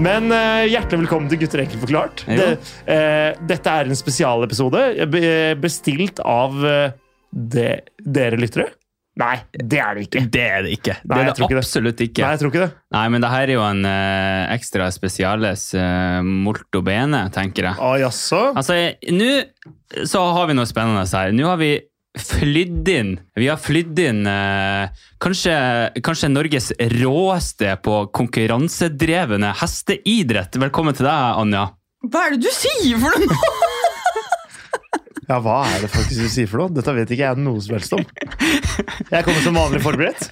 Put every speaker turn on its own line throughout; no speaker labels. Men eh, hjertelig velkommen til Gutter enkelt forklart.
Jo.
Det, eh, dette er en spesialepisode eh, be- eh, bestilt av eh, de, dere lyttere. Nei, det er det ikke.
Det er det ikke.
Nei,
det
jeg
er
tror
det
ikke det.
absolutt ikke.
Nei,
Nei.
jeg tror ikke det.
men det her er jo en eh, ekstra spesiales eh, molto bene, tenker jeg.
Å, jaså?
Altså, jeg- nå så har vi noe spennende her. Nå har vi flydd inn Vi har flydd inn eh, kanskje, kanskje Norges råeste på konkurransedrevne hesteidrett. Velkommen til deg, Anja.
Hva er det du sier for noe nå?!
Ja, hva er det faktisk du sier for noe? Dette vet ikke jeg noe som helst om. Jeg kommer som vanlig forberedt.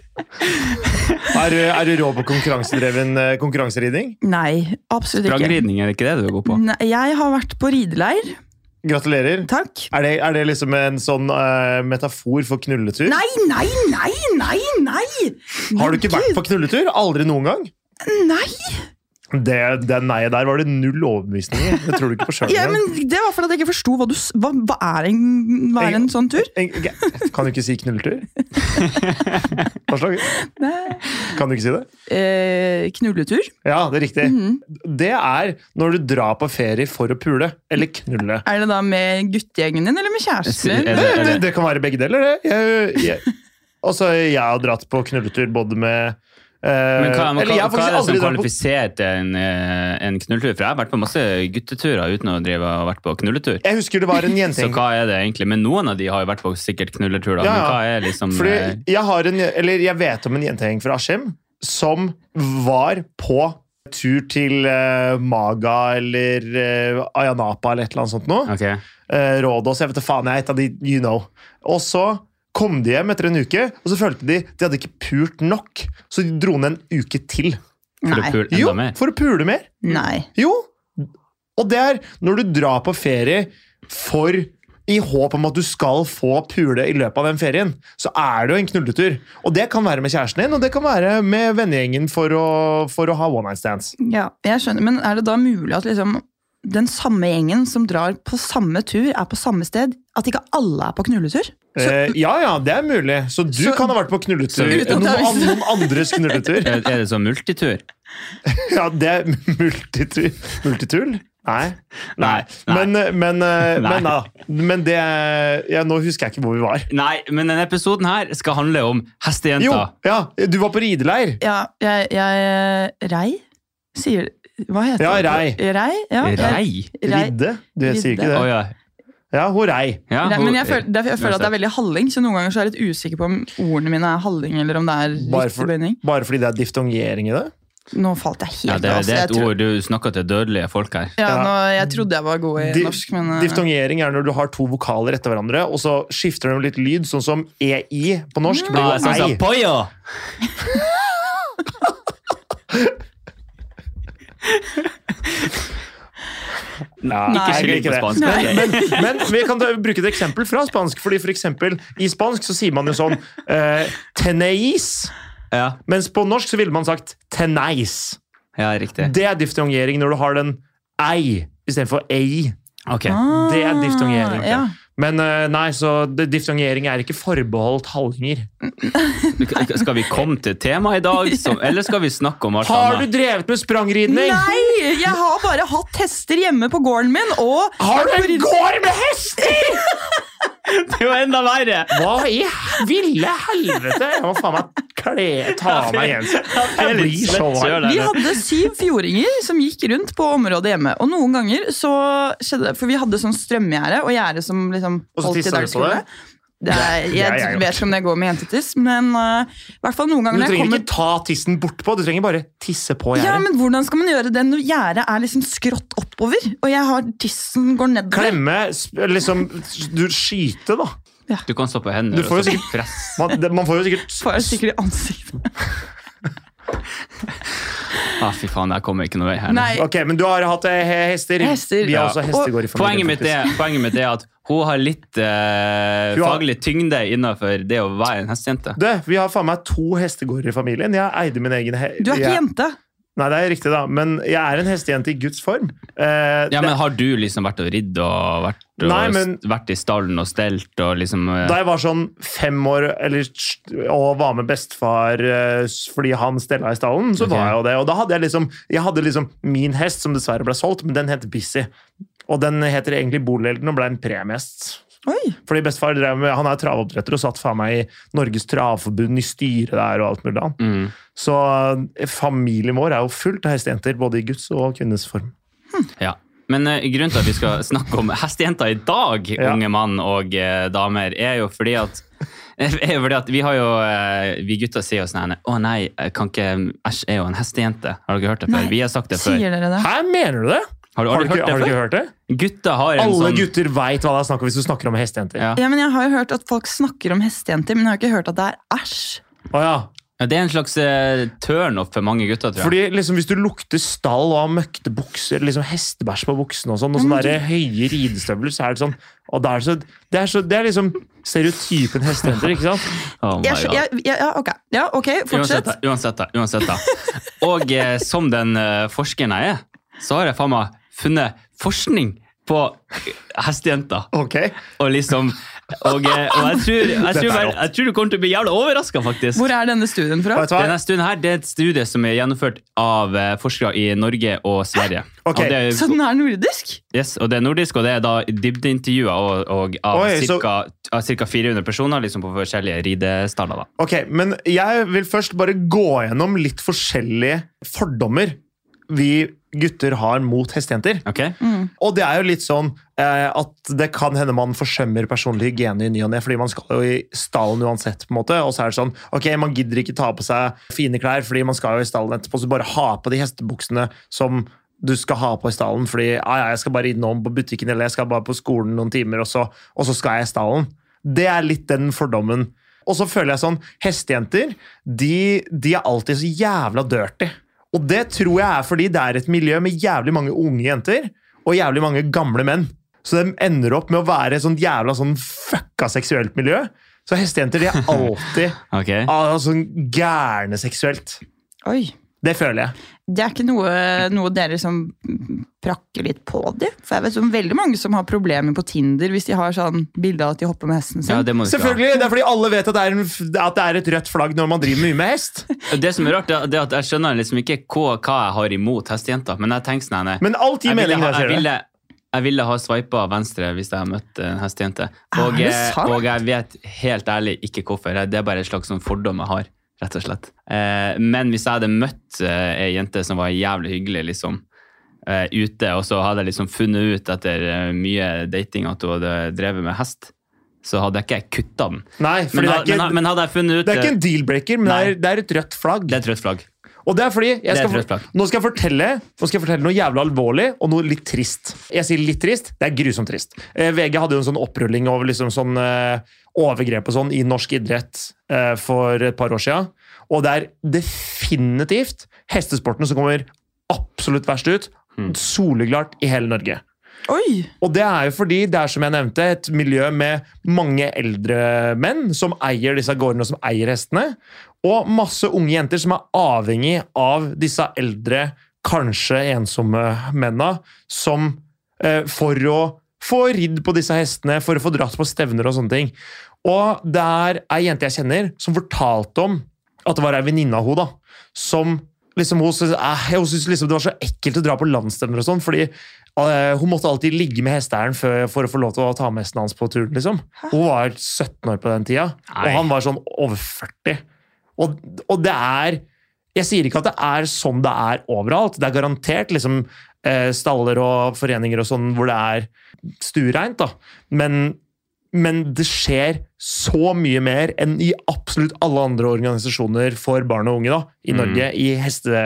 Er, du- er du rå på konkurransedreven eh, konkurranseridning?
Nei, absolutt ikke.
Sprangridning, er det ikke Mm, det du er god på?
Nei, jeg har vært på rideleir.
Gratulerer.
Takk.
Er det, er det liksom en sånn eh, metafor for knulletur?
Nei, nei, nei, nei, nei!
Har du ikke vært på knulletur? Aldri noen gang?
Nei!
Det, det nei-et der var det null overbevisning i. Det tror du ikke på sjøl.
Ja, men det var fordi at jeg ikke forsto hva du s- Hva, hva, er, en, hva er en sånn tur?
Kan du ikke si knulletur? Hva slags?
Nei.
Kan du ikke si det?
Eh, knulletur.
Ja, det er riktig.
Mhm.
Det er når du drar på ferie for å pule. Eller knulle.
Er det da med guttegjengen din eller med kjæresten din?
Er
Det,
det- er
det,
det-
det kan være begge deler, det. Jeg, jeg, altså, jeg har dratt på knulletur både med eh,
Men hva, men,
eller jeg har
hva, hva
faktisk
er det som
aldri dratt på
kvalifiserer til en, eh, en knulletur? For jeg har vært på masse gutteturer uten å drive og vært på knulletur.
Jeg husker det var en
Så
jentegjeng
hva er det egentlig? Men noen av de har jo vært på sikkert knulletur, da.
Ja,
Men
ja.
hva er liksom
Fordi
eh,
jeg, har en, eller jeg vet om en jentegjeng fra Askim som var på tur til eh, Maga eller eh, Ayanapa eller et eller annet sånt noe.
Ok.
Eh, Rådås, jeg vet da faen, jeg er et av de you know. Og så kom de hjem etter en uke, og så følte de de hadde ikke pult nok. Så de dro ned en uke til.
For å
Nei.
pule
Jo,
enda mer.
for å pule mer.
Nei.
Jo. Og det er når du drar på ferie for i håp om at du skal få pule i løpet av den ferien, så er det jo en knulletur. Og det kan være med kjæresten din, og det kan være med vennegjengen for å, for å ha one night stands.
Ja, jeg skjønner. Men er det da mulig at liksom den samme gjengen som drar på samme tur, er på samme sted? At ikke alle er på knulletur?
eh, ja, ja, det er mulig. Så du
Så-
kan ha vært på knulletur.
Så-
Noen, an- noen andres knulletur.
Er er det sånn multitur?
Ja, det er multitur. Multitull? Nei. Nei.
Nei.
Men, men, eh,
Nei.
men, da, men det ja, Nå husker jeg ikke hvor vi var.
Nei, men denne episoden her skal handle om hestejenta.
Jo, ja, du var på rideleir.
Ja, jeg, jeg Rei? Sier Hva heter
Ja,
det?
rei.
Rei? Ja, jeg-
Rei?
Rei.
Ridde? Du
Ridde.
sier ikke
Å
det?
ja.
Ja, hun rei.
ja
Rei,
hun-
men jeg føler, det- jeg føler at det er veldig halling, så noen ganger så er jeg litt usikker på om ordene mine er halling, eller om det er
Bare
riktig
for-
bøyning.
Bare fordi det er diftongering i det?
Nå falt jeg
ja,
helt
det, det
av.
er
så
et
jeg tror-
ord du snakker til dødelige folk her.
Ja,
Ja.
nå, jeg trodde jeg var god i
Di-
norsk, men eh,
Diftongering er når du har to vokaler etter hverandre, og så skifter de litt lyd, sånn som EI på norsk blir
Ah, sånn
jo
som
ei.
Poyo!
Nei,
Ikke
jeg
skyld
liker
på
det.
spansk.
Nei.
men-
Men, men vi kan ta, bruke et eksempel fra spansk, fordi for eksempel i spansk så sier man jo sånn eh, teneis,
Ja,
mens på norsk så ville man sagt teneis.
ja, riktig.
Det er diftongering når du har den ei istedenfor ei.
Ok.
ah,
Det er diftongering.
Ja.
Men eh, nei, så det- diftongering er ikke forbeholdt hallinger.
Skal vi komme til temaet i dag, som, eller skal vi snakke om alt
Har du
annet?
drevet med sprangridning?
Nei! Jeg har bare hatt hester hjemme på gården min, og
Har du en gård med hester?!
Det er jo enda verre!
Hva i ville helvete? Jeg må faen meg kle ta av meg Jens. Jeg blir så varm.
Vi hadde syv fjordinger som gikk rundt på området hjemme. Og noen ganger så skjedde det For vi hadde sånn strømgjerde og gjerde som liksom
Og så
holdt i
tissa du på
dagskole.
det?
Det er,
det har
jeg
jeg
vet ikke om det går med jentetiss, men eh, i hvert fall noen
Men
ganger
Du
når jeg
trenger
kommer
ikke ta tissen bortpå, du trenger bare tisse på
ja,
gjerdet.
men Hvordan skal man gjøre det når gjerdet er liksom skrått oppover? Og jeg har tissen går nedover.
Klemme, sp- liksom Du skyte, da.
Du kan stå på hender
Du får jo
og så
sikkert-
press.
Man, det, man får jo sikkert
Får jeg sikkert i ansiktet.
Ah, fy faen, jeg kommer ikke noe vei her. nå.
Nei,
Ok, men du har hatt eh, he- hester.
Hester.
Vi har også
Ja.
hestegård i
Poenget
familien.
mitt,
faktisk.
er, poenget mitt er at hun har litt eh,
Hun har-
faglig tyngde innenfor det å være en hestejente.
Du, vi har faen meg to hestegårder i familien. Jeg eide min egen he
du er ikke
jeg-
jente.
Nei, det er riktig, da. Men jeg er en hestejente i Guds form. Eh,
Ja,
det-
men Har du liksom vært og ridd og vært, og
Nei, men-
vært i stallen og stelt og liksom eh,
Da jeg var sånn fem år eller, og var med bestefar eh, fordi han stella i stallen, så
Ok.
var jeg jo det. Og da hadde jeg liksom, jeg hadde liksom min hest, som dessverre ble solgt, men den het Bissy. Og den heter egentlig Bolhelten og ble en premiehest.
Oi!
Fordi bestefar drev med, han er travoppdretter og satt faen meg i Norges Travforbund, i styret der og alt mulig annet.
Mm.
Så eh, familien vår er jo fullt av hestejenter, både i Guds og kvinnes form.
Ja. Men eh, grunnen til at vi skal snakke om hestejenter i dag,
Ja.
unge mann og eh, damer, er jo fordi at, er jo fordi at vi har jo eh, Vi gutter sier jo sånn her Å nei, jeg kan ikke Æsj, jeg er jo en hestejente. Har dere hørt det
Nei,
før? Vi har sagt det før.
Sier dere det?
Hæ, mener du det?
Har du
Har du
aldri
ikke,
hørt det
har du
før?
ikke hørt det?
Gutter har en
Alle
sånn
gutter veit hva det er snakk om hvis du snakker om hestejenter.
ja.
Ja, men Jeg har jo hørt at folk snakker om hestejenter, men jeg har ikke hørt at det er æsj.
Å ja.
Ja, det er en slags eh, turnoff for mange gutter, tror jeg.
Fordi liksom Hvis du lukter stall og har møkte bukser, liksom hestebæsj på buksene og sånn, og
Ja,
sånne
men
der høye ridestøvler, så er det sånn og da er det, så, det, er så, det er liksom stereotypen hestejenter, ikke sant?
Oh my
Jeg, skjø-
God.
jeg, jeg, ja, ok, ja, ok,
Uansett,
fortsett.
da, uansett, da, uansett da. Og eh, som den eh, forskeren jeg er, så har jeg faen meg funnet forskning på hestejenter.
Ok.
Og liksom Og, eh, og jeg, tror, jeg, tror,
Dette er
vel- jeg tror du kommer til å bli jævla overraska, faktisk.
Hvor er denne studien fra?
Vet du hva?
Denne stunden her, Det er et studie som er gjennomført av eh, forskere i Norge og Sverige.
Ok,
Og det er,
Så den er nordisk?
yes, og det er nordisk, og det er da dybdeintervjuer og, og av
Oi, så-
ca. 400 personer liksom på forskjellige ridestaller. da.
Ok, Men jeg vil først bare gå gjennom litt forskjellige fordommer vi gutter har mot hestejenter.
Ok?
Mm.
Og det er jo litt sånn eh, at det kan hende man forsømmer personlig hygiene i ny og ne, fordi man skal jo i stallen uansett, på en måte. Og så er det sånn, ok, man gidder ikke ta på seg fine klær, fordi man skal jo i stallen etterpå, så bare ha på de hestebuksene som du skal ha på i stallen, fordi ja, ja, jeg skal bare innom på butikken, eller jeg skal bare på skolen noen timer, og så, og så skal jeg i stallen. Det er litt den fordommen. Og så føler jeg sånn, hestejenter, de, de er alltid så jævla dirty. Og det tror jeg er fordi det er et miljø med jævlig mange unge jenter og jævlig mange gamle menn. Så de ender opp med å være et sånt jævla sånn fucka seksuelt miljø. Så hestejenter de er alltid
Ok?
ah, sånn gærne seksuelt.
Oi.
Det føler jeg.
Det er ikke noe, noe dere som prakker litt på de? For jeg vet om veldig mange som har problemer på Tinder hvis de har sånn bilde av at de hopper med hesten sin.
Ja, det må du ikke ha.
Selvfølgelig, Det er fordi alle vet at det er, en, f- at det er et rødt flagg når man driver mye med hest.
Det som er rart, det er- det er at jeg skjønner liksom ikke hva, hva jeg har imot hestejenter. Men jeg tenker sånn nei,
Men alt gir
jeg, ville
mening.
ha,
det,
jeg,
ser du.
ville, jeg ville ha sveipa venstre hvis jeg hadde møtt en hestejente. Og,
Er det
eh,
sant?
og jeg vet helt ærlig ikke hvorfor. Det er bare et slags sånn fordom jeg har. rett og slett. Eh, men hvis jeg hadde møtt eh, ei jente som var jævlig hyggelig, liksom, eh, ute, og så hadde jeg liksom funnet ut etter eh, mye dating at hun hadde drevet med hest, så hadde jeg ikke kutta den.
Nei,
Men,
fordi det,
ha- men,
er
ha-
ikke,
men hadde jeg funnet ut
det er ikke en dealbreaker, men det
Nei.
er, det er et rødt flagg.
Det er et rødt flagg.
Og det er fordi jeg
er
skal,
et rødt flagg.
nå, skal jeg fortelle, nå skal jeg fortelle noe jævla alvorlig og noe litt trist. Jeg sier litt trist, det er grusomt trist. Eh, VG hadde jo en sånn opprulling over liksom sånn eh, overgrep og sånn i norsk idrett eh, for et par år siden. Og det er definitivt hestesporten som kommer absolutt verst ut.
Hmm.
Soleklart i hele Norge.
Oi!
Og det er jo fordi det er som jeg nevnte, et miljø med mange eldre menn som eier disse gårdene og som eier hestene. Og masse unge jenter som er avhengig av disse eldre, kanskje ensomme mennene, som eh, for å få ridd på disse hestene, for å få dratt på stevner og sånne ting. Og det er ei jente jeg kjenner, som fortalte om at det var ei venninne av henne, da, som liksom, hun syntes eh, hun syntes liksom det var så ekkelt å dra på landsstevner og sånn, fordi Eh, Hun måtte alltid ligge med hesteeieren før- for å få lov til å ta med hesten hans på turen. liksom. Hun var 17 år på den tida, og
Nei.
han var sånn over 40. Og, og det er Jeg sier ikke at det er sånn det er overalt. Det er garantert liksom eh, staller og foreninger og sånn hvor det er stuereint, da. Men, men det skjer så mye mer enn i absolutt alle andre organisasjoner for barn og unge da, i
Mm.
Norge. i heste...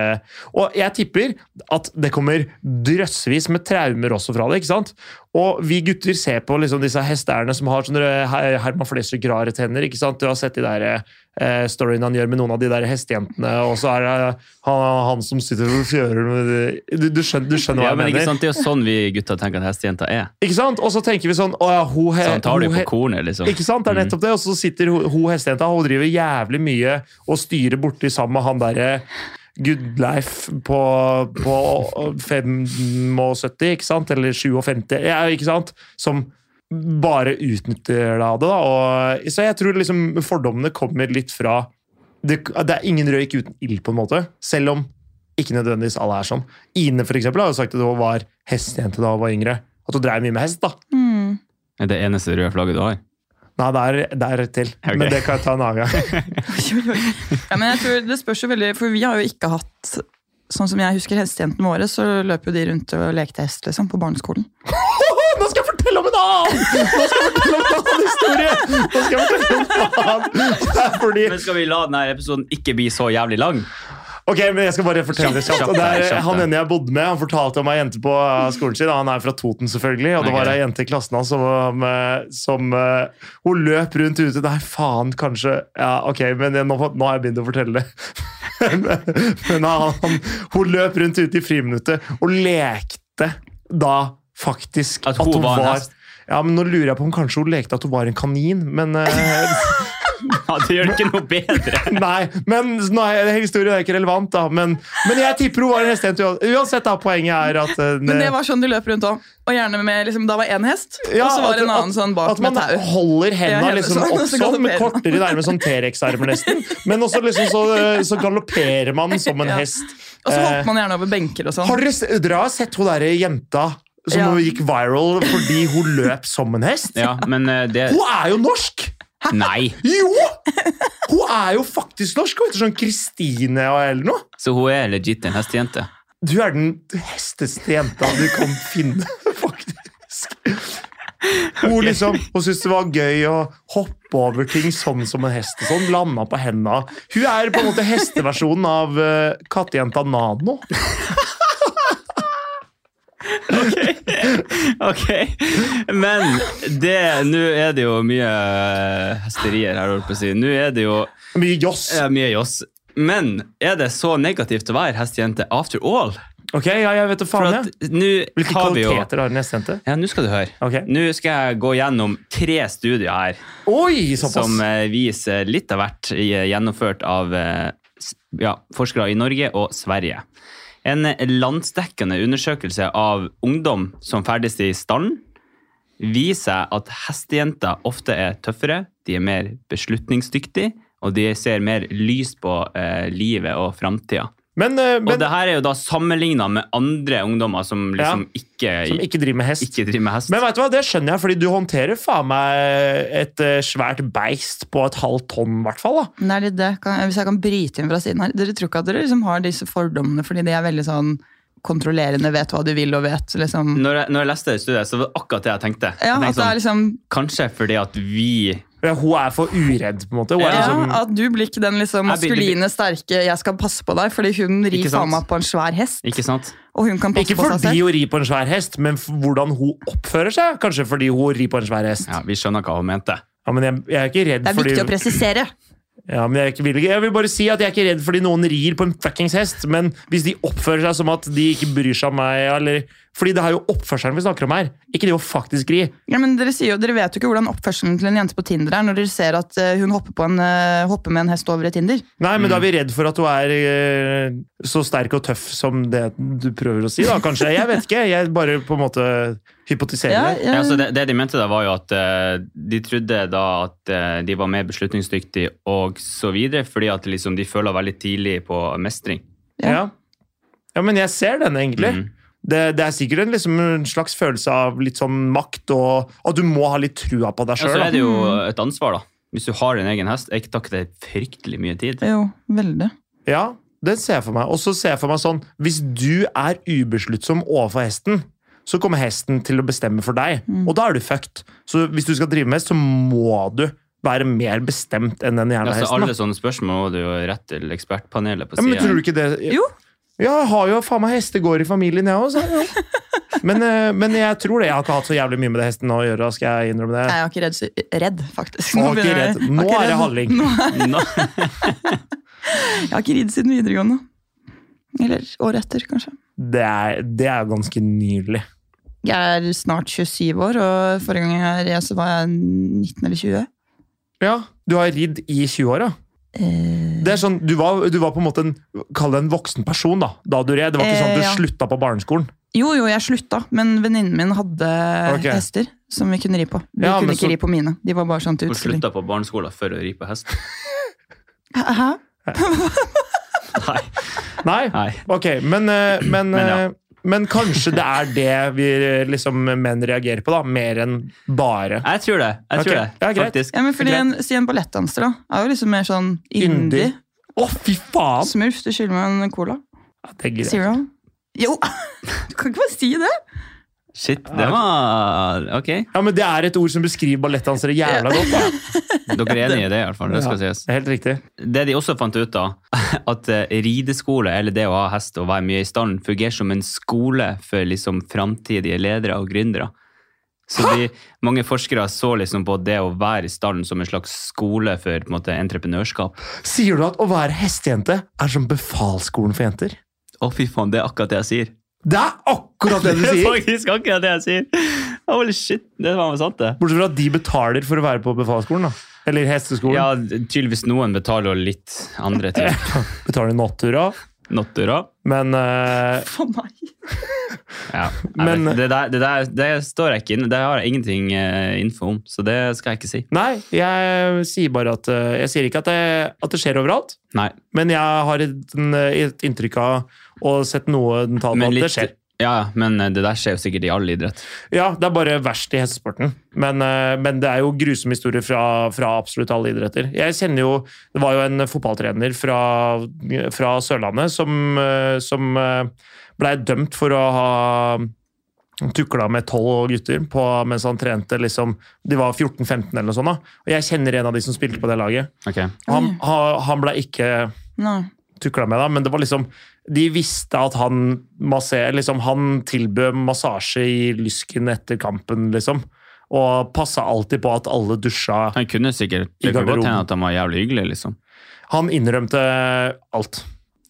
Og jeg tipper at det kommer drøssevis med traumer også fra det. ikke sant? Og vi gutter ser på liksom disse hesteeierne som har sånne eh, Her- Herman Flesvig rare tenner. ikke sant? Du har sett de der eh, storyene han gjør med noen av de der hestejentene, og så er det han, han som sitter og fjører med de. du, du skjønner, du skjønner hva
Ja,
jeg
men ikke
mener?
sant, Det er jo sånn vi gutter tenker at hestejenter er.
Ikke sant? Og så tenker vi sånn Å ja, hun he-
Så han tar
hun
det jo på
he-
kornet, liksom.
Ikke sant, det er nettopp det. Og så sitter hun ho hestejenta og driver jævlig mye og styrer borti sammen med han derre Gudleif på, på 75, ikke sant? Eller 57, ja, ikke sant? Som bare utnytter deg av det. Da. Og, så jeg tror liksom fordommene kommer litt fra det, det er ingen røyk uten ild, på en måte. Selv om ikke nødvendigvis alle er sånn. Ine for eksempel, har jo sagt at hun var hestejente da hun var yngre. At hun drev mye med hest. da.
Mm.
Er det eneste røde flagget du har?
Nei, det er, det er rett til.
Ok.
Men det kan jeg ta en annen gang.
Oi, oi, oi. Ja, men jeg tror det spørs jo veldig, for vi har jo ikke hatt Sånn som jeg husker hestejentene våre, så løp jo de rundt og lekte hest liksom, på barneskolen.
Nå skal jeg fortelle om en annen! Nå skal jeg fortelle om en annen historie! Nå skal jeg fortelle om en annen. Og Det er fordi...
Men skal vi la denne episoden ikke bli så jævlig lang?
Ok, men jeg skal bare fortelle det kjapt.
Kjapt,
Og det
kjapt,
er,
kjapt.
han ene jeg bodde med, han fortalte om ei jente på eh, skolen sin. Han er fra Toten, selvfølgelig. Og det var
Ok.
ei jente i klassen hans som, eh, som eh, Hun løp rundt ute. Nei, faen, kanskje Ja, ok, men jeg, nå, nå har jeg begynt å fortelle det. men men han, han, hun løp rundt ute i friminuttet og lekte da faktisk
At hun var en hest.
Ja, men Nå lurer jeg på om kanskje hun lekte at hun var en kanin, men eh,
Ja, Det gjør det ikke noe bedre.
Nei, men nå er det- historien er ikke relevant, da. Men, men jeg tipper hun var en hestejente. uan- Uansett, da, poenget er at eh,
Men det var sånn de løp rundt om. Og gjerne med liksom, Da var én hest,
ja,
og så var
at-
det en annen
at-
sånn bak
At man
med tau.
holder henda
Ja, henne
liksom
sånn,
opp
og så
sånn, med
galopperer man.
kortere nærmest sånn T-rex-armer nesten. Men også liksom så, så galopperer man som en
Ja.
hest.
Og så
Eh,
holdt man gjerne over benker og sånn.
Har dere, s- dere har sett hun derre jenta som
Ja.
hun gikk viral fordi hun løp som en hest?
Ja, men eh, det
Hun er jo norsk!
Nei.
Jo! Hun er jo faktisk norsk. Hun heter sånn Kristine eller noe.
Så hun er legit en hestejente.
Du er den hesteste jenta du kan finne, faktisk. Hun liksom, hun syntes det var gøy å hoppe over ting sånn som en hest. og sånn, Landa på henda. Hun er på en måte hesteversjonen av eh, kattejenta Nano.
Ok, men det Nå er det jo mye eh, hesterier her, holdt på å si. Nå er det jo
Mye joss.
eh, mye joss. Men er det så negativt å være hestejente after all?
Ok, ja, jeg vet det
For
faen,
at
jeg.
nå
Hvilke
har vi jo
kvaliteter har en hestejente?
Ja, nå skal du høre.
Ok.
Nå skal jeg gå gjennom tre studier her
Oi, såpass!
som eh, viser litt av hvert i- gjennomført av eh, s- ja, forskere i Norge og Sverige. En landsdekkende undersøkelse av ungdom som ferdes i stallen, viser at hestejenter ofte er tøffere, de er mer beslutningsdyktige, og de ser mer lys på eh, livet og framtida.
Men, eh,
Og
men
det her er jo da sammenligna med andre ungdommer som liksom ikke,
som
ikke,
ikke driver med hest.
driver med hest.
Men vet du hva, det skjønner jeg, fordi du håndterer faen meg et eh, svært beist på et halvt tonn, i hvert fall. da.
Det er litt det. Kan, hvis jeg kan bryte inn fra siden her. Dere tror ikke at dere liksom har disse fordommene fordi de er veldig sånn kontrollerende, vet hva du vil og vet liksom
Når jeg, når jeg leste det studiet, så var det akkurat det jeg tenkte. jeg
Ja, at
tenkte
det er
sånn,
liksom
Kanskje fordi at vi
Ja, hun er for uredd, på en måte. Hun er
Ja.
liksom,
Ja, at du blir ikke den liksom
Jeg blir-
maskuline, sterke 'jeg skal passe på deg', fordi hun rir
Ikke sant?
faen meg på en svær hest.
Ikke sant?
Og hun kan passe
ikke
på seg
fordi
selv.
hun rir på en svær hest, men f- hvordan hun oppfører seg. Kanskje fordi hun rir på en svær hest. Ja.
Ja, Vi skjønner hva hun mente.
men jeg, jeg er ikke redd
Det er
fordi
viktig å presisere.
ja, men jeg, er ikke, vil, ikke- jeg vil bare si at jeg er ikke redd fordi noen rir på en fuckings hest, men hvis de oppfører seg som at de ikke bryr seg om meg, eller Fordi det er jo oppførselen vi snakker om her, ikke det å faktisk ri.
Ja, men dere, sier jo, dere vet jo ikke hvordan oppførselen til en jente på Tinder er når dere ser at eh, hun hopper, på en, eh, hopper med en hest over et hinder.
Nei, men da er vi
Mm.
redd for at hun er eh, så sterk og tøff som det du prøver å si, da, kanskje. Jeg vet ikke. Jeg bare på en måte hypotiserer.
Ja,
det.
ja.
Ja, altså det, det de mente, da var jo at eh, de trodde da at eh, de var mer beslutningsdyktige og så videre, fordi at liksom de føler veldig tidlig på mestring.
Ja.
Ja. ja, men jeg ser den egentlig.
Mhm.
Det, det er sikkert en, liksom, en slags følelse av litt sånn makt og at du må ha litt trua på deg
Ja, så
sjøl.
er det jo
Mm.
et ansvar, da. Hvis du har din egen hest. Er ikke takk det fryktelig mye tid?
Jo, veldig.
ja, det ser jeg for meg. Og så ser jeg for meg sånn Hvis du er ubesluttsom overfor hesten, så kommer hesten til å bestemme for deg,
Mm.
og da er du fucked. Så hvis du skal drive med hest, så må du være mer bestemt enn den jævla
Altså,
hesten.
alle
Da.
sånne spørsmål må du jo rett til ekspertpanelet på
Ja, men
sida.
tror du ikke det
Jo.
Ja, jeg har jo faen meg hestegård i familien, jeg òg. Men, eh, men jeg tror det. Jeg har ikke hatt så jævlig mye med det hesten å gjøre. skal jeg innrømme det.
Nei, jeg er ikke redd, sy- redd faktisk.
Å, ikke
begynner jeg-
redd. Nå
Jeg
er
ikke
det
redd.
handling.
Nå-
Nå,
Jeg har ikke ridd siden videregående. Eller året etter, kanskje.
Det er, det er ganske nydelig.
Jeg er snart 27 år, og forrige gang jeg red, så var jeg 19 eller 20.
Ja, Du har ridd i 20 år, ja?
eh,
Det er sånn, du var, du var på en måte en, kall det en voksen person da, da du red. Det var ikke sånn at du
Eh, ja.
slutta på barneskolen.
Jo, jo, jeg slutta, men venninnen min hadde
Ok.
hester som vi kunne ri på. Vi
Ja, men
kunne ikke
så-
ri på mine. De var bare sånn til
Hun
utstilling.
slutta på barneskolen for å ri på hest.
Hæ?
Nei.
Nei?
Nei.
Ok, men, eh, men,
Men ja.
eh, men kanskje det er det vi eh, liksom, menn reagerer på, da. Mer enn bare.
Jeg tror det. Jeg tror
Ok.
det,
Ja, greit.
faktisk.
Ja, men fordi
Greit.
en, si en ballettdanser da, er jo liksom mer sånn indie.
Indie. Å, fy faen!
Smurf, du skylder meg en cola.
Ja, Det er greit.
Zero. Jo, du kan ikke bare si det.
Shit, det var Ok.
Ja, men Det er et ord som beskriver ballettdansere jævla godt. da.
Dere er enige i det, i hvert fall. Det skal
Ja,
sies.
det er helt riktig.
Det de også fant ut, da, at eh, rideskole, eller det å ha hest og være mye i stallen, fungerer som en skole for liksom framtidige ledere og gründere. Så de, mange forskere så liksom på det å være i stallen som en slags skole for på en måte, entreprenørskap.
Sier du at å være hestejente er som befalsskolen for jenter?
Å, fy faen, det er akkurat det jeg sier.
Det er akkurat det du
Det er
sier!
faktisk akkurat det jeg sier. Holy shit, det var sant, det.
Bortsett fra at de betaler for å være på befalsskolen. da. Eller hesteskolen.
Ja, tydeligvis noen betaler jo litt andre til
Betaler natura.
Nottura.
Men eh,
For meg.
Ja,
Men- eh,
men, det, der, det, der, det står jeg ikke inne Det har jeg ingenting eh, info om, så det skal jeg ikke si.
Nei, jeg sier bare at eh, Jeg sier ikke at det, at det skjer overalt.
Nei,
Men jeg har et, en, et inntrykk av og sett noe den taler på
men
at det
litt,
skjer.
ja, men eh, det der skjer jo sikkert i all idrett.
Ja, det er bare verst i hestesporten. Men, eh, men det er jo grusomme historier fra, fra absolutt alle idretter. Jeg kjenner jo Det var jo en fotballtrener fra, fra Sørlandet som, eh, som eh, blei dømt for å ha tukla med tolv gutter på, mens han trente liksom De var 14-15 eller noe sånt. da. Og jeg kjenner en av de som spilte på det laget.
Ok,
Og Han, ha- han blei ikke
Nei.
tukla med, da, men det var liksom De visste at han, masse- liksom, han tilbød massasje i lysken etter kampen, liksom. Og passa alltid på at alle dusja.
Han kunne sikkert
I
Det kan godt
garderoben.
hende at han var jævlig hyggelig, liksom.
Han innrømte alt.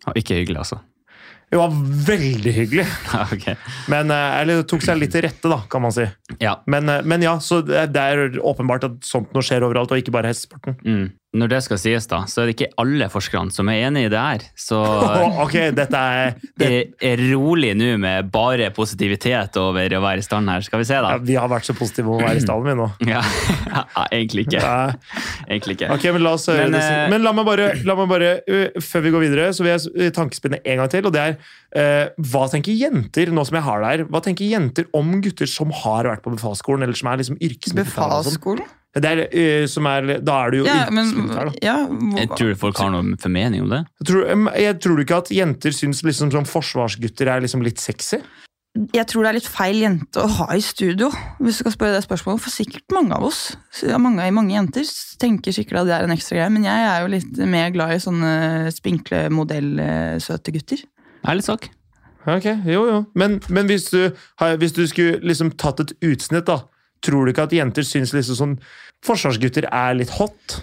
Ja, Ikke hyggelig, altså.
Det var veldig hyggelig,
Ja, ok.
men eh, eller tok seg litt til rette, da, kan man si.
Ja.
Men, eh, men ja, så det er- det er åpenbart at sånt noe skjer overalt, og ikke bare hestesporten.
Mm. Når det skal sies, da, så er det ikke alle forskerne som er enig i det her. Så
Å, ok, dette er det,
er, er rolig nå med bare positivitet over å være i stand her. Skal vi se, da?
ja, Vi har vært så positive om å være i stallen, vi nå.
Ja, egentlig ikke.
Nei.
Egentlig ikke.
Ok, men la oss høre
Men,
det si-
eh,
Men la meg bare, la meg bare ø, før vi går videre, så vil jeg s- ø, tankespinne en gang til. Og det er eh, hva tenker jenter, nå som jeg har det her, hva tenker jenter om gutter som har vært på befalsskolen, eller som er liksom yrkesmilitære? og sånn?
Befalsskolen?
Det er, ø, som er, da er du jo
Ja, men
yrkesmilitær, da.
ja, hvor-
Jeg tror folk har noen formening om det.
Tror, em, jeg tror du ikke at jenter syns liksom som forsvarsgutter er liksom litt sexy?
jeg tror det er litt feil jente å ha i studio, hvis du skal spørre det spørsmålet. For sikkert mange av oss, så ja, mange, mange jenter, s- tenker sikkert at det er en ekstra greie. Men jeg er jo litt mer glad i sånne spinkle, modellsøte gutter.
Ærlig sak.
Ok, jo jo. Men, men hvis, du, har- hvis du skulle liksom tatt et utsnitt, da. Tror du ikke at jenter syns liksom sånn forsvarsgutter er litt hot?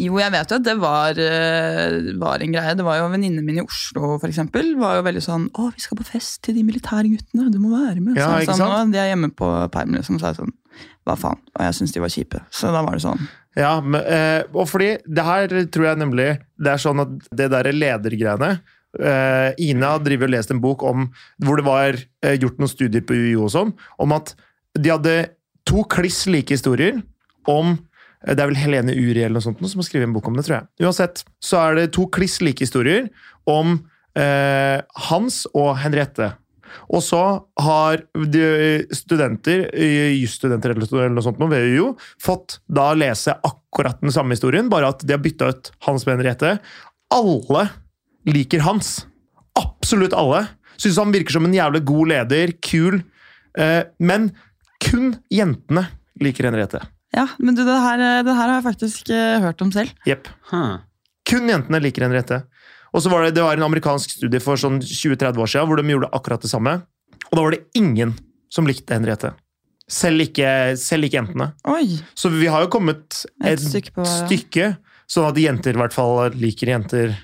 Jo, jeg vet jo at det var, eh, var en greie. Det var jo venninnene mine i Oslo, for eksempel, var jo veldig sånn 'Å, vi skal på fest til de militære guttene. Du må være med.'
Ja,
så jeg
ikke
sa,
sant?
«Nå, de er hjemme på permen, liksom, så er jeg sånn 'Hva faen?' Og jeg syns de var kjipe. Så da var det sånn.
Ja, men, eh, og fordi det her tror jeg nemlig Det er sånn at det der ledergreiene eh, Ina driver og lest en bok om hvor det var eh, gjort noen studier på UiO og sånn, om at de hadde to kliss like historier om eh, det er vel Helene Uri eller noe sånt nå som har skrevet en bok om det, tror jeg. Uansett, så er det to kliss like historier om eh, Hans og Henriette. Og så har de studenter, eh, jusstudenter eller noe- eller noe sånt nå ved UiO, fått da lese akkurat den samme historien, bare at de har bytta ut Hans med Henriette. Alle liker Hans. Absolutt alle. Syns han virker som en jævlig god leder, kul. Eh, Men kun jentene liker Henriette.
Ja, men du, det her, eh, det her har jeg faktisk eh, hørt om selv.
Jepp. Kun jentene liker Henriette. Og så var det, det var en amerikansk studie for sånn 20-30 år siden hvor de gjorde akkurat det samme. Og da var det ingen som likte Henriette. Selv ikke, selv ikke jentene.
Oi!
Så vi har jo kommet
Et
et,
stykke på vei, ja.
stykke, sånn at jenter i hvert fall liker jenter.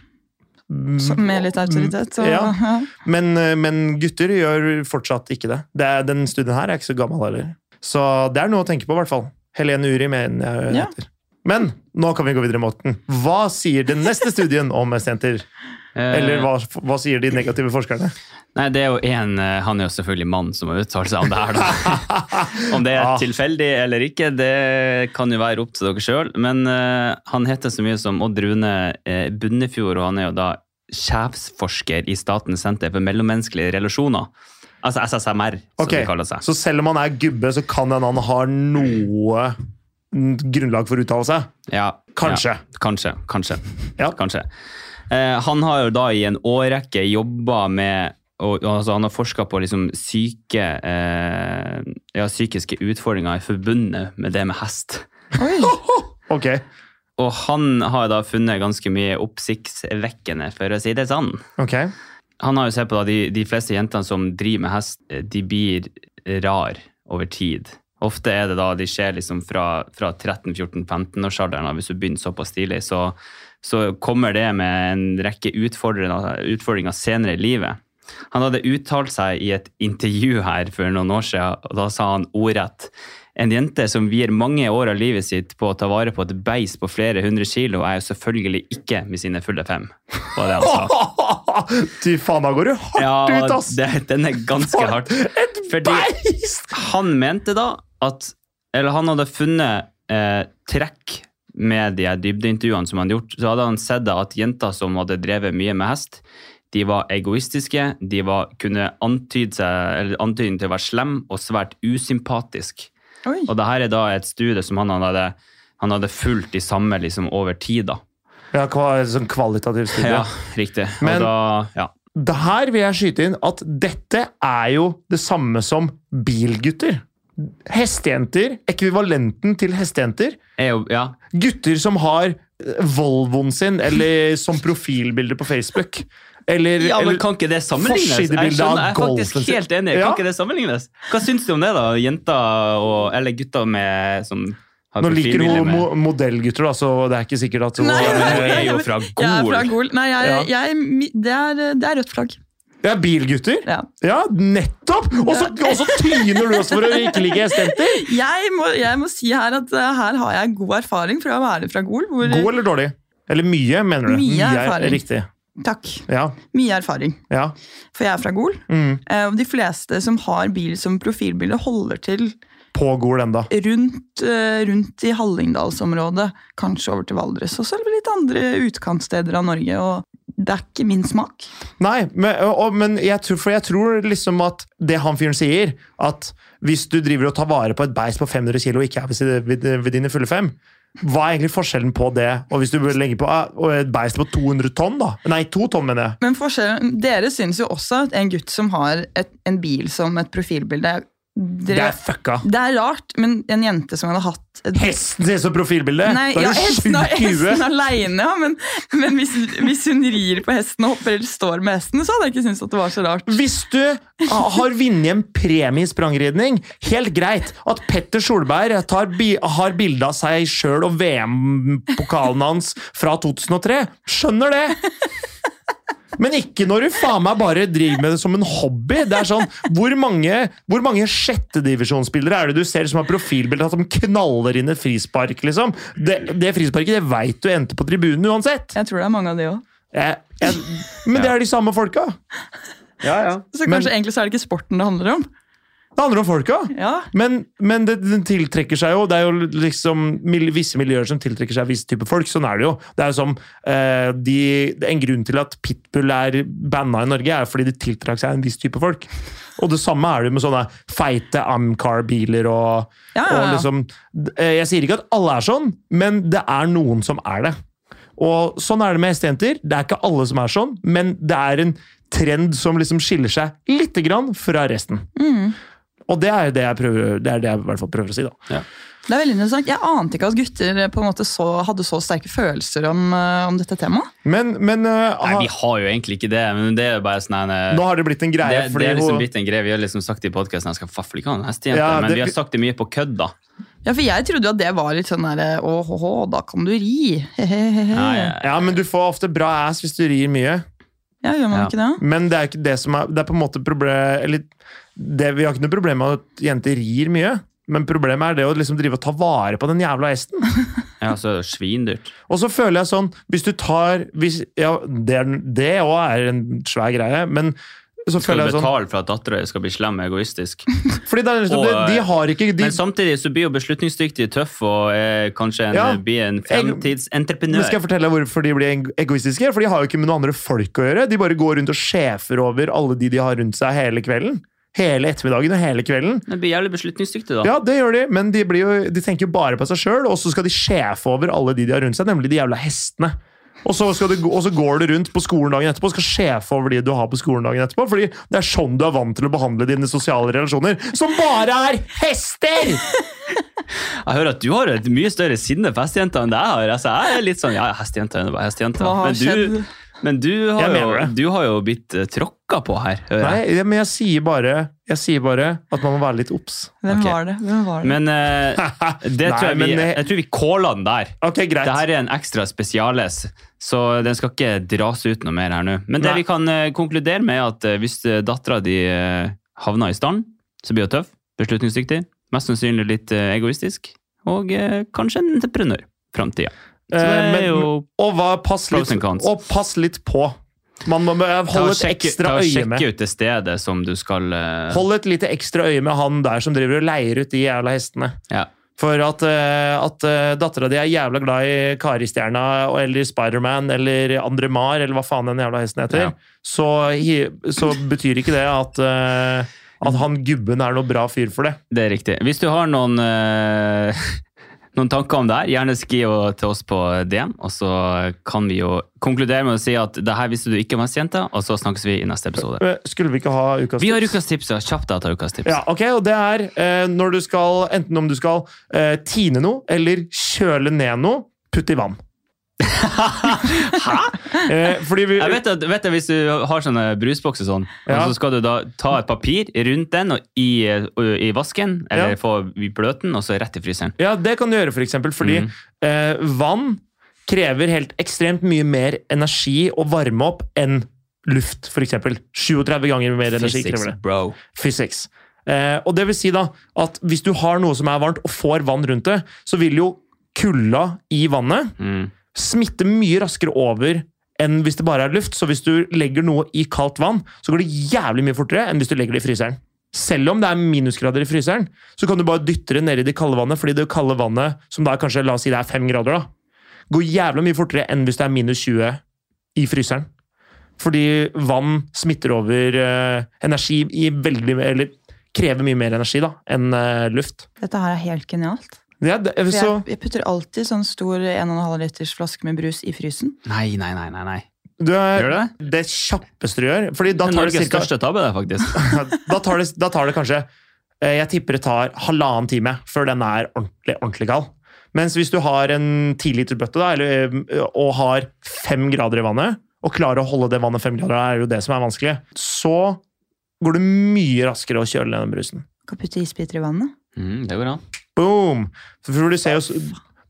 Så,
Mm.
med litt autoritet. Så,
Ja.
ja.
Men, eh, men gutter gjør fortsatt ikke det. det er, den studien her er ikke så gammel heller. Så det er noe å tenke på, i hvert fall. Helene Uri mener jeg
Ja.
heter. Men nå kan vi gå videre, Morten. Hva sier den neste studien om senter?
Eh,
Eller hva, hva sier de negative forskerne?
Nei, det er jo en, eh, Han er jo selvfølgelig mann som har uttalt seg om det her, da. om det er
Ja.
tilfeldig eller ikke, det kan jo være opp til dere sjøl. Men eh, han heter så mye som Odd Rune eh, Bunnefjord, og han er jo da sjefsforsker i Statens senter for mellommenneskelige relasjoner. Altså SSMR, som
Ok,
det kaller seg.
Så selv om han er gubbe, så kan hende han har noe grunnlag for å uttale seg?
Ja,
Kanskje.
Ja, kanskje, kanskje.
Ja.
kanskje. Eh, han har jo da i en årrekke jobba med og, og altså Han har forska på liksom syke, eh, ja, psykiske utfordringer i forbundet med det med hest.
Oi,
Ok.
Og han har da funnet ganske mye oppsiktsvekkende, for å si det sånn.
ok.
Han har jo sett på da, de, de fleste jentene som driver med hest, eh, de blir rar over tid. Ofte er det da de skjer liksom fra, fra 13-14-15-årsalderen, hvis du begynner såpass tidlig, så, så kommer det med en rekke utfordringer, utfordringer senere i livet. Han hadde uttalt seg i et intervju her for noen år siden, og da sa han ordrett en jente som vier mange år av livet sitt på å ta vare på et beis på flere hundre kilo, er jo selvfølgelig ikke med sine fulle fem. Var det han sa.
Fy faen, da går du hardt ut, ass!
Det, den er ganske
For
hardt.
Et
Fordi-
beist!
Han mente da at Eller han hadde funnet eh, trekk med de her dybdeintervjuene som han hadde gjort. Så hadde han sett da at jenter som hadde drevet mye med hest, de var egoistiske, de var, kunne antyde seg, eller antyde til å være slem og svært usympatisk.
oi.
Og det her er da et studie som han hadde, han hadde fulgt de samme liksom, over tid. da.
Ja, kva, sånn kvalitativ studie.
Ja, riktig.
Men-
og da, ja.
Det her vil jeg skyte inn at dette er jo det samme som bilgutter. Hestejenter, ekvivalenten til hestejenter.
Er jo, ja,
Gutter som har eh, Volvoen sin, eller som profilbilde på Facebook. Eller,
Ja, men
eller
kan ikke det sammenlignes? Jeg,
Forsidebildet
skjønner, jeg
av
er faktisk
golfen sin.
helt enig.
Ja.
Kan ikke det sammenlignes? Hva syns du om det, da? Jenter og, eller gutter med som har
nå liker
profilbilder
hun
med-
mo modellgutter, da, så det er ikke sikkert at hun
Nei,
Ja, men hun er jo
men-
fra
Jeg er fra
Gol.
Gol. Nei, jeg,
Ja.
jeg, mi- det, er, det er rødt flagg.
Ja, bilgutter!
Ja.
Ja, nettopp! Og så og så tyner du oss for å ikke like hestejenter!
Jeg, må, jeg må si her at eh, her har jeg god erfaring fra å være fra Gol. Hvor,
God eller dårlig? Eller mye, mener du?
Mye erfaring.
er riktig.
Takk.
Ja.
Mye erfaring.
ja.
For jeg er fra Gol.
Mm.
eh, Og de fleste som har bil som profilbilde, holder til
På Gol enda.
rundt, eh, rundt i Hallingdalsområdet, kanskje over til Valdres, og så er det litt andre utkantsteder av Norge. og det er ikke min smak.
Nei, men, og, og- men jeg tror, for jeg tror liksom at det han fyren sier, at hvis du driver og tar vare på et beist på 500 kilo og ikke er ved, side- ved, ved dine fulle fem, hva er egentlig forskjellen på det og hvis du bør legge på eh, og et beist på 200 tonn, da? Nei, to tonn, mener jeg.
Men forskjellen, dere syns jo også at en gutt som har et, en bil som et profilbilde
Det er
dere,
fucka.
det er rart, men en jente som hadde hatt et
Hesten ser ut som profilbilde!
Nei,
da
ja,
er du
hesten,
sjuk i
hesten
huet!
alene, ja, men, men hvis, hvis hun rir på hesten og hopper eller står med hesten, så hadde jeg ikke syntes at det var så rart.
Hvis du har vunnet en premie i sprangridning, helt greit at Petter Solberg tar, bi- har bilde av seg sjøl og VM-pokalen hans fra 2003. Skjønner det! Men ikke når du faen meg bare driver med det som en hobby. Det er sånn, Hvor mange, hvor mange sjettedivisjonsspillere er det du ser som har profilbilder som knaller inn et frispark? liksom? Det, det frisparket det veit du endte på tribunen uansett.
Jeg tror det er mange av de òg.
Jeg, jeg, men det er de samme folka.
Ja, ja.
Så
Men-
kanskje egentlig så er det ikke sporten det handler om.
Det handler om folka.
Ja,
Men, men det, den tiltrekker seg jo Det er jo liksom mil, visse miljøer som tiltrekker seg visse typer folk. Sånn er det jo. Det er jo som eh, de, En grunn til at pitbull er banna i Norge, er fordi de tiltrakk seg en viss type folk. Og det samme er det jo med sånne feite Amcar-biler og,
Ja, ja,
og
ja.
liksom eh, Jeg sier ikke at alle er sånn, men det er noen som er det. Og sånn er det med hestejenter. Det er ikke alle som er sånn, men det er en trend som liksom skiller seg lite grann fra resten.
Mm.
Og det er jo det jeg, prøver, det er det jeg i hvert fall prøver å si, da.
Det er veldig interessant. Jeg ante ikke at gutter eh, på en måte så, hadde så sterke følelser om, eh, om dette temaet.
Men, men eh,
Nei,
aha,
vi har jo egentlig ikke det, men det er jo bare sånn en, eh,
nå har det blitt en greie.
det,
fordi
det er liksom
hun-
blitt en greie. Vi har liksom sagt i podkasten at jeg skal faffel ikke ha en hestejente,
Ja,
men
det-
vi har sagt det mye på kødd, da.
Ja, for jeg trodde jo at det var litt sånn der Å, hå, hå, da kan du ri. Hehehe.
Nei,
ja, men du får ofte bra ass hvis du rir mye.
Ja, gjør man
Ja.
ikke det?
Men det er ikke det som er Det er på en måte problem Eller det, vi har ikke noe problem med at jenter rir mye. Men problemet er det å liksom drive og ta vare på den jævla hesten.
Ja, så er det svindyrt.
Og så føler jeg sånn, hvis du tar hvis, Ja, det er- det òg er en svær greie, men så
Skal
føler
du
jeg sånn
betale for at dattera di skal bli slem og egoistisk?
Fordi det er liksom,
Og,
de, de har ikke de,
Men samtidig så blir jo beslutningsdyktig tøff og er kanskje en,
Ja.
blir en
Men skal
fremtidsentreprenør.
jeg fortelle deg hvorfor de blir eng- egoistiske? For de har jo ikke med noen andre folk å gjøre. De bare går rundt og sjefer over alle de de har rundt seg hele kvelden. Hele ettermiddagen og hele kvelden.
Det blir jævlig beslutningsdyktig, da.
Ja, det gjør de, men de, blir jo, de tenker jo bare på seg sjøl, og så skal de sjefe over alle de de har rundt seg, nemlig de jævla hestene. Og så, skal du, gå- og så går du rundt på skolen dagen etterpå og skal sjefe over de du har på skolen dagen etterpå, fordi det er sånn du er vant til å behandle dine sosiale relasjoner, som bare er hester!
Jeg hører at du har et mye større sinne for hestejenter enn det jeg har. Altså, jeg er litt sånn, ja, hestejenter er bare hestejenter.
Hva har
Men du,
skjedd?
men du, har,
Jeg
jo,
mener det.
du har jo blitt eh, tråkka på her. hører
Nei,
jeg.
jeg- men jeg sier bare, jeg sier bare at man må være litt obs.
Hvem
Ok.
var det? Hvem var det?
Men eh, det tror
Nei,
jeg, vi,
men eh, det-
jeg tror vi caller den der.
Ok, greit.
Det her er en ekstra spesiales, så den skal ikke dras ut noe mer her nå. Men det
Nei.
vi kan eh, konkludere med, er at eh, hvis dattera di eh, havner i stand, så blir hun tøff, beslutningsdyktig, mest sannsynlig litt eh, egoistisk, og eh, kanskje en entreprenør. Framtida. Så
Eh,
det
men-
er jo
Og hva, pass,
Pros
litt,
and cons.
og pass litt på. Man må
Ta og
holde et
sjekke, ta
ekstra
og
øye med.
sjekke ut det stedet som du skal eh,
Hold et lite ekstra øye med han der som driver og leier ut de jævla hestene.
ja.
For at, uh, at eh, dattera di er jævla glad i Karistjerna og- eller Spiderman eller Andremar eller hva faen den jævla hesten heter,
Ja.
så, hi- så betyr ikke det at, eh, at han gubben er noe bra fyr for det.
Det er riktig. Hvis du har noen, eh, noen tanker om det her, gjerne skriv jo til oss på DM, og så kan vi jo konkludere med å si at det her visste du ikke om hestejenta, og så snakkes vi i neste episode.
Eh, Skulle vi ikke ha ukas
Vi har
tips?
ukas tips, ja. Kjapt da, ta ukas tips.
Ja, ok, og det er eh, når du skal, enten om du skal eh, tine noe eller kjøle ned noe, putt i vann. Hæ? Eh, fordi vi,
Jeg vet at, vet at Hvis du har sånne brusbokser, sånn,
Ja.
og så skal du da ta et papir rundt den og i, og i vasken, eller
Ja.
få i bløten, og så rett i fryseren.
Ja, det kan du gjøre, for eksempel, fordi
Mhm.
eh, vann krever helt ekstremt mye mer energi å varme opp enn luft, for eksempel. 37 ganger mer energi krever det.
bro.
Physics. Eh, og det vil si da at hvis du har noe som er varmt og får vann rundt det, så vil jo kulda i vannet
Mm.
smitter mye raskere over enn hvis det bare er luft. Så hvis du legger noe i kaldt vann, så går det jævlig mye fortere enn hvis du legger det i fryseren. Selv om det er minusgrader i fryseren, så kan du bare dytte det ned i det kalde vannet, fordi det kalde vannet, som da er kanskje la oss si det er fem grader, da, går jævlig mye fortere enn hvis det er minus 20 i fryseren. Fordi vann smitter over eh, energi i veldig Eller krever mye mer energi da, enn eh, luft.
Dette her er helt genialt.
Ja, det,
For
så,
Jeg, jeg putter alltid sånn stor 1,5 liters flaske med brus i frysen.
Nei, nei, nei. nei, nei.
du,
Gjør
er-
det?
det kjappeste du gjør fordi da
Det er
tar det
Norges
cirka-
største tabbe, det, faktisk.
da, tar det, da tar det kanskje eh, Jeg tipper det tar halvannen time før den er ordentlig, ordentlig gal. Mens hvis du har en 10 liters bøtte da, eller, eh, og har fem grader i vannet, og klarer å holde det vannet fem grader, er jo det som er vanskelig, så går det mye raskere å kjøle ned den brusen.
Kan putte isbiter i vannet.
Mm, det går an.
Boom! For du ser jo... s-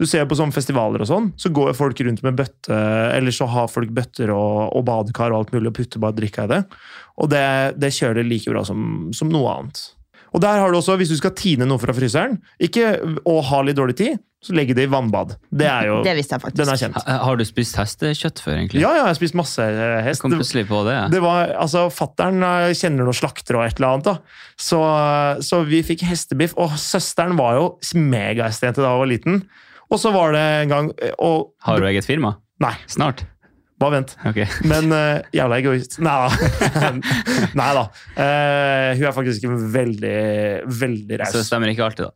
Du ser jo på sånne festivaler og sånn, så går jo folk rundt med bøtte, eller så har folk bøtter og, og badekar og alt mulig, og putter bare drikka i det. Og det, det kjører like bra som, som noe annet. Og der har du også, hvis du skal tine noe fra fryseren, ikke, og har litt dårlig tid, så legge det i vannbad. Det er jo,
Det visste jeg faktisk.
den er kjent.
Ha- eh, Har du spist hestekjøtt før, egentlig?
Ja, ja, jeg har spist masse eh,
Jeg
hest.
kom
Det-
plutselig på det.
det var, altså, Fattern eh, kjenner noen slaktere og et eller annet. da. Så, eh, så vi fikk hestebiff. Og søsteren var jo megahestjente da hun var liten. Og så var det en gang eh, og,
Har du eget firma?
Nei,
Snart?
bare vent.
Ok.
Men eh, jævla egoist. Nei da. Nei da. Eh, hun er faktisk en veldig, veldig
Så det
raus.
stemmer ikke alltid, da.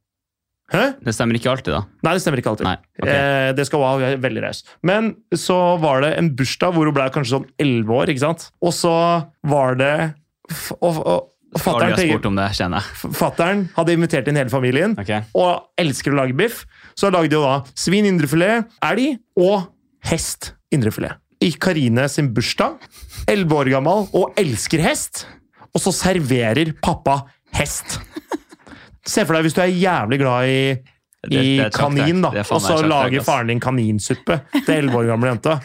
Hæ?
Det stemmer ikke alltid, da.
Nei, det stemmer ikke alltid.
Nei. ok.
Eh, det skal hun ha, hun er veldig raus. Men så var det en bursdag hvor hun ble kanskje sånn 11 år, ikke sant? Og så var det f og, og, og
Alle
fatteren
har
tenker-
spurt om det, kjenner jeg.
Fatteren hadde invitert inn hele familien
Ok.
og elsker å lage biff. Så han lagde jo da svin indrefilet, elg og hest indrefilet. I Karine sin bursdag, 11 år gammel og elsker hest. Og så serverer pappa hest. Se for deg hvis du er jævlig glad i,
Det-
i
det er et sjakktegn.
kanin, da,
Det er
og
faen meg et
så
sjakktegn,
lager
ass.
faren din kaninsuppe til 11 år gamle jenta.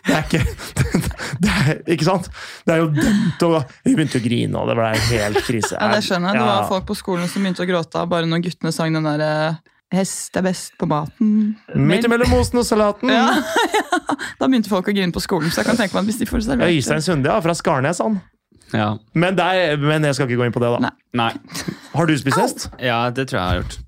Det er ikke det er, Ikke sant? Det er jo dømt å Hun begynte å grine, og det ble helt krise.
Ja, det skjønner jeg. Det
Ja.
var folk på skolen som begynte å gråte av bare når guttene sang den der eh, Hest er best på maten.
Midt imellom osten og salaten.
Ja, Da begynte folk å grine på skolen, så jeg kan tenke meg at hvis de får
Ja,
servert
Øystein Sunde, ja, fra Skarnes, han.
Ja.
Men, der, men jeg skal ikke gå inn på det, da.
Nei.
Nei.
Har du spist hest?
Ja, det tror jeg jeg har gjort.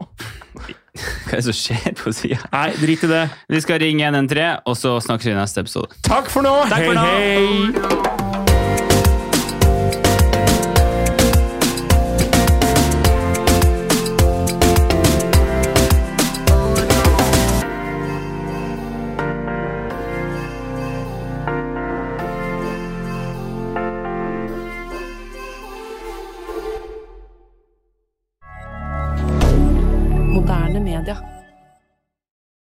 Hva er det som skjer på sida?
Nei, drit i det.
Vi skal ringe 113, og så snakkes vi i neste episode.
Takk for nå!
Takk for nå!
Hei, hei!
Moderne media.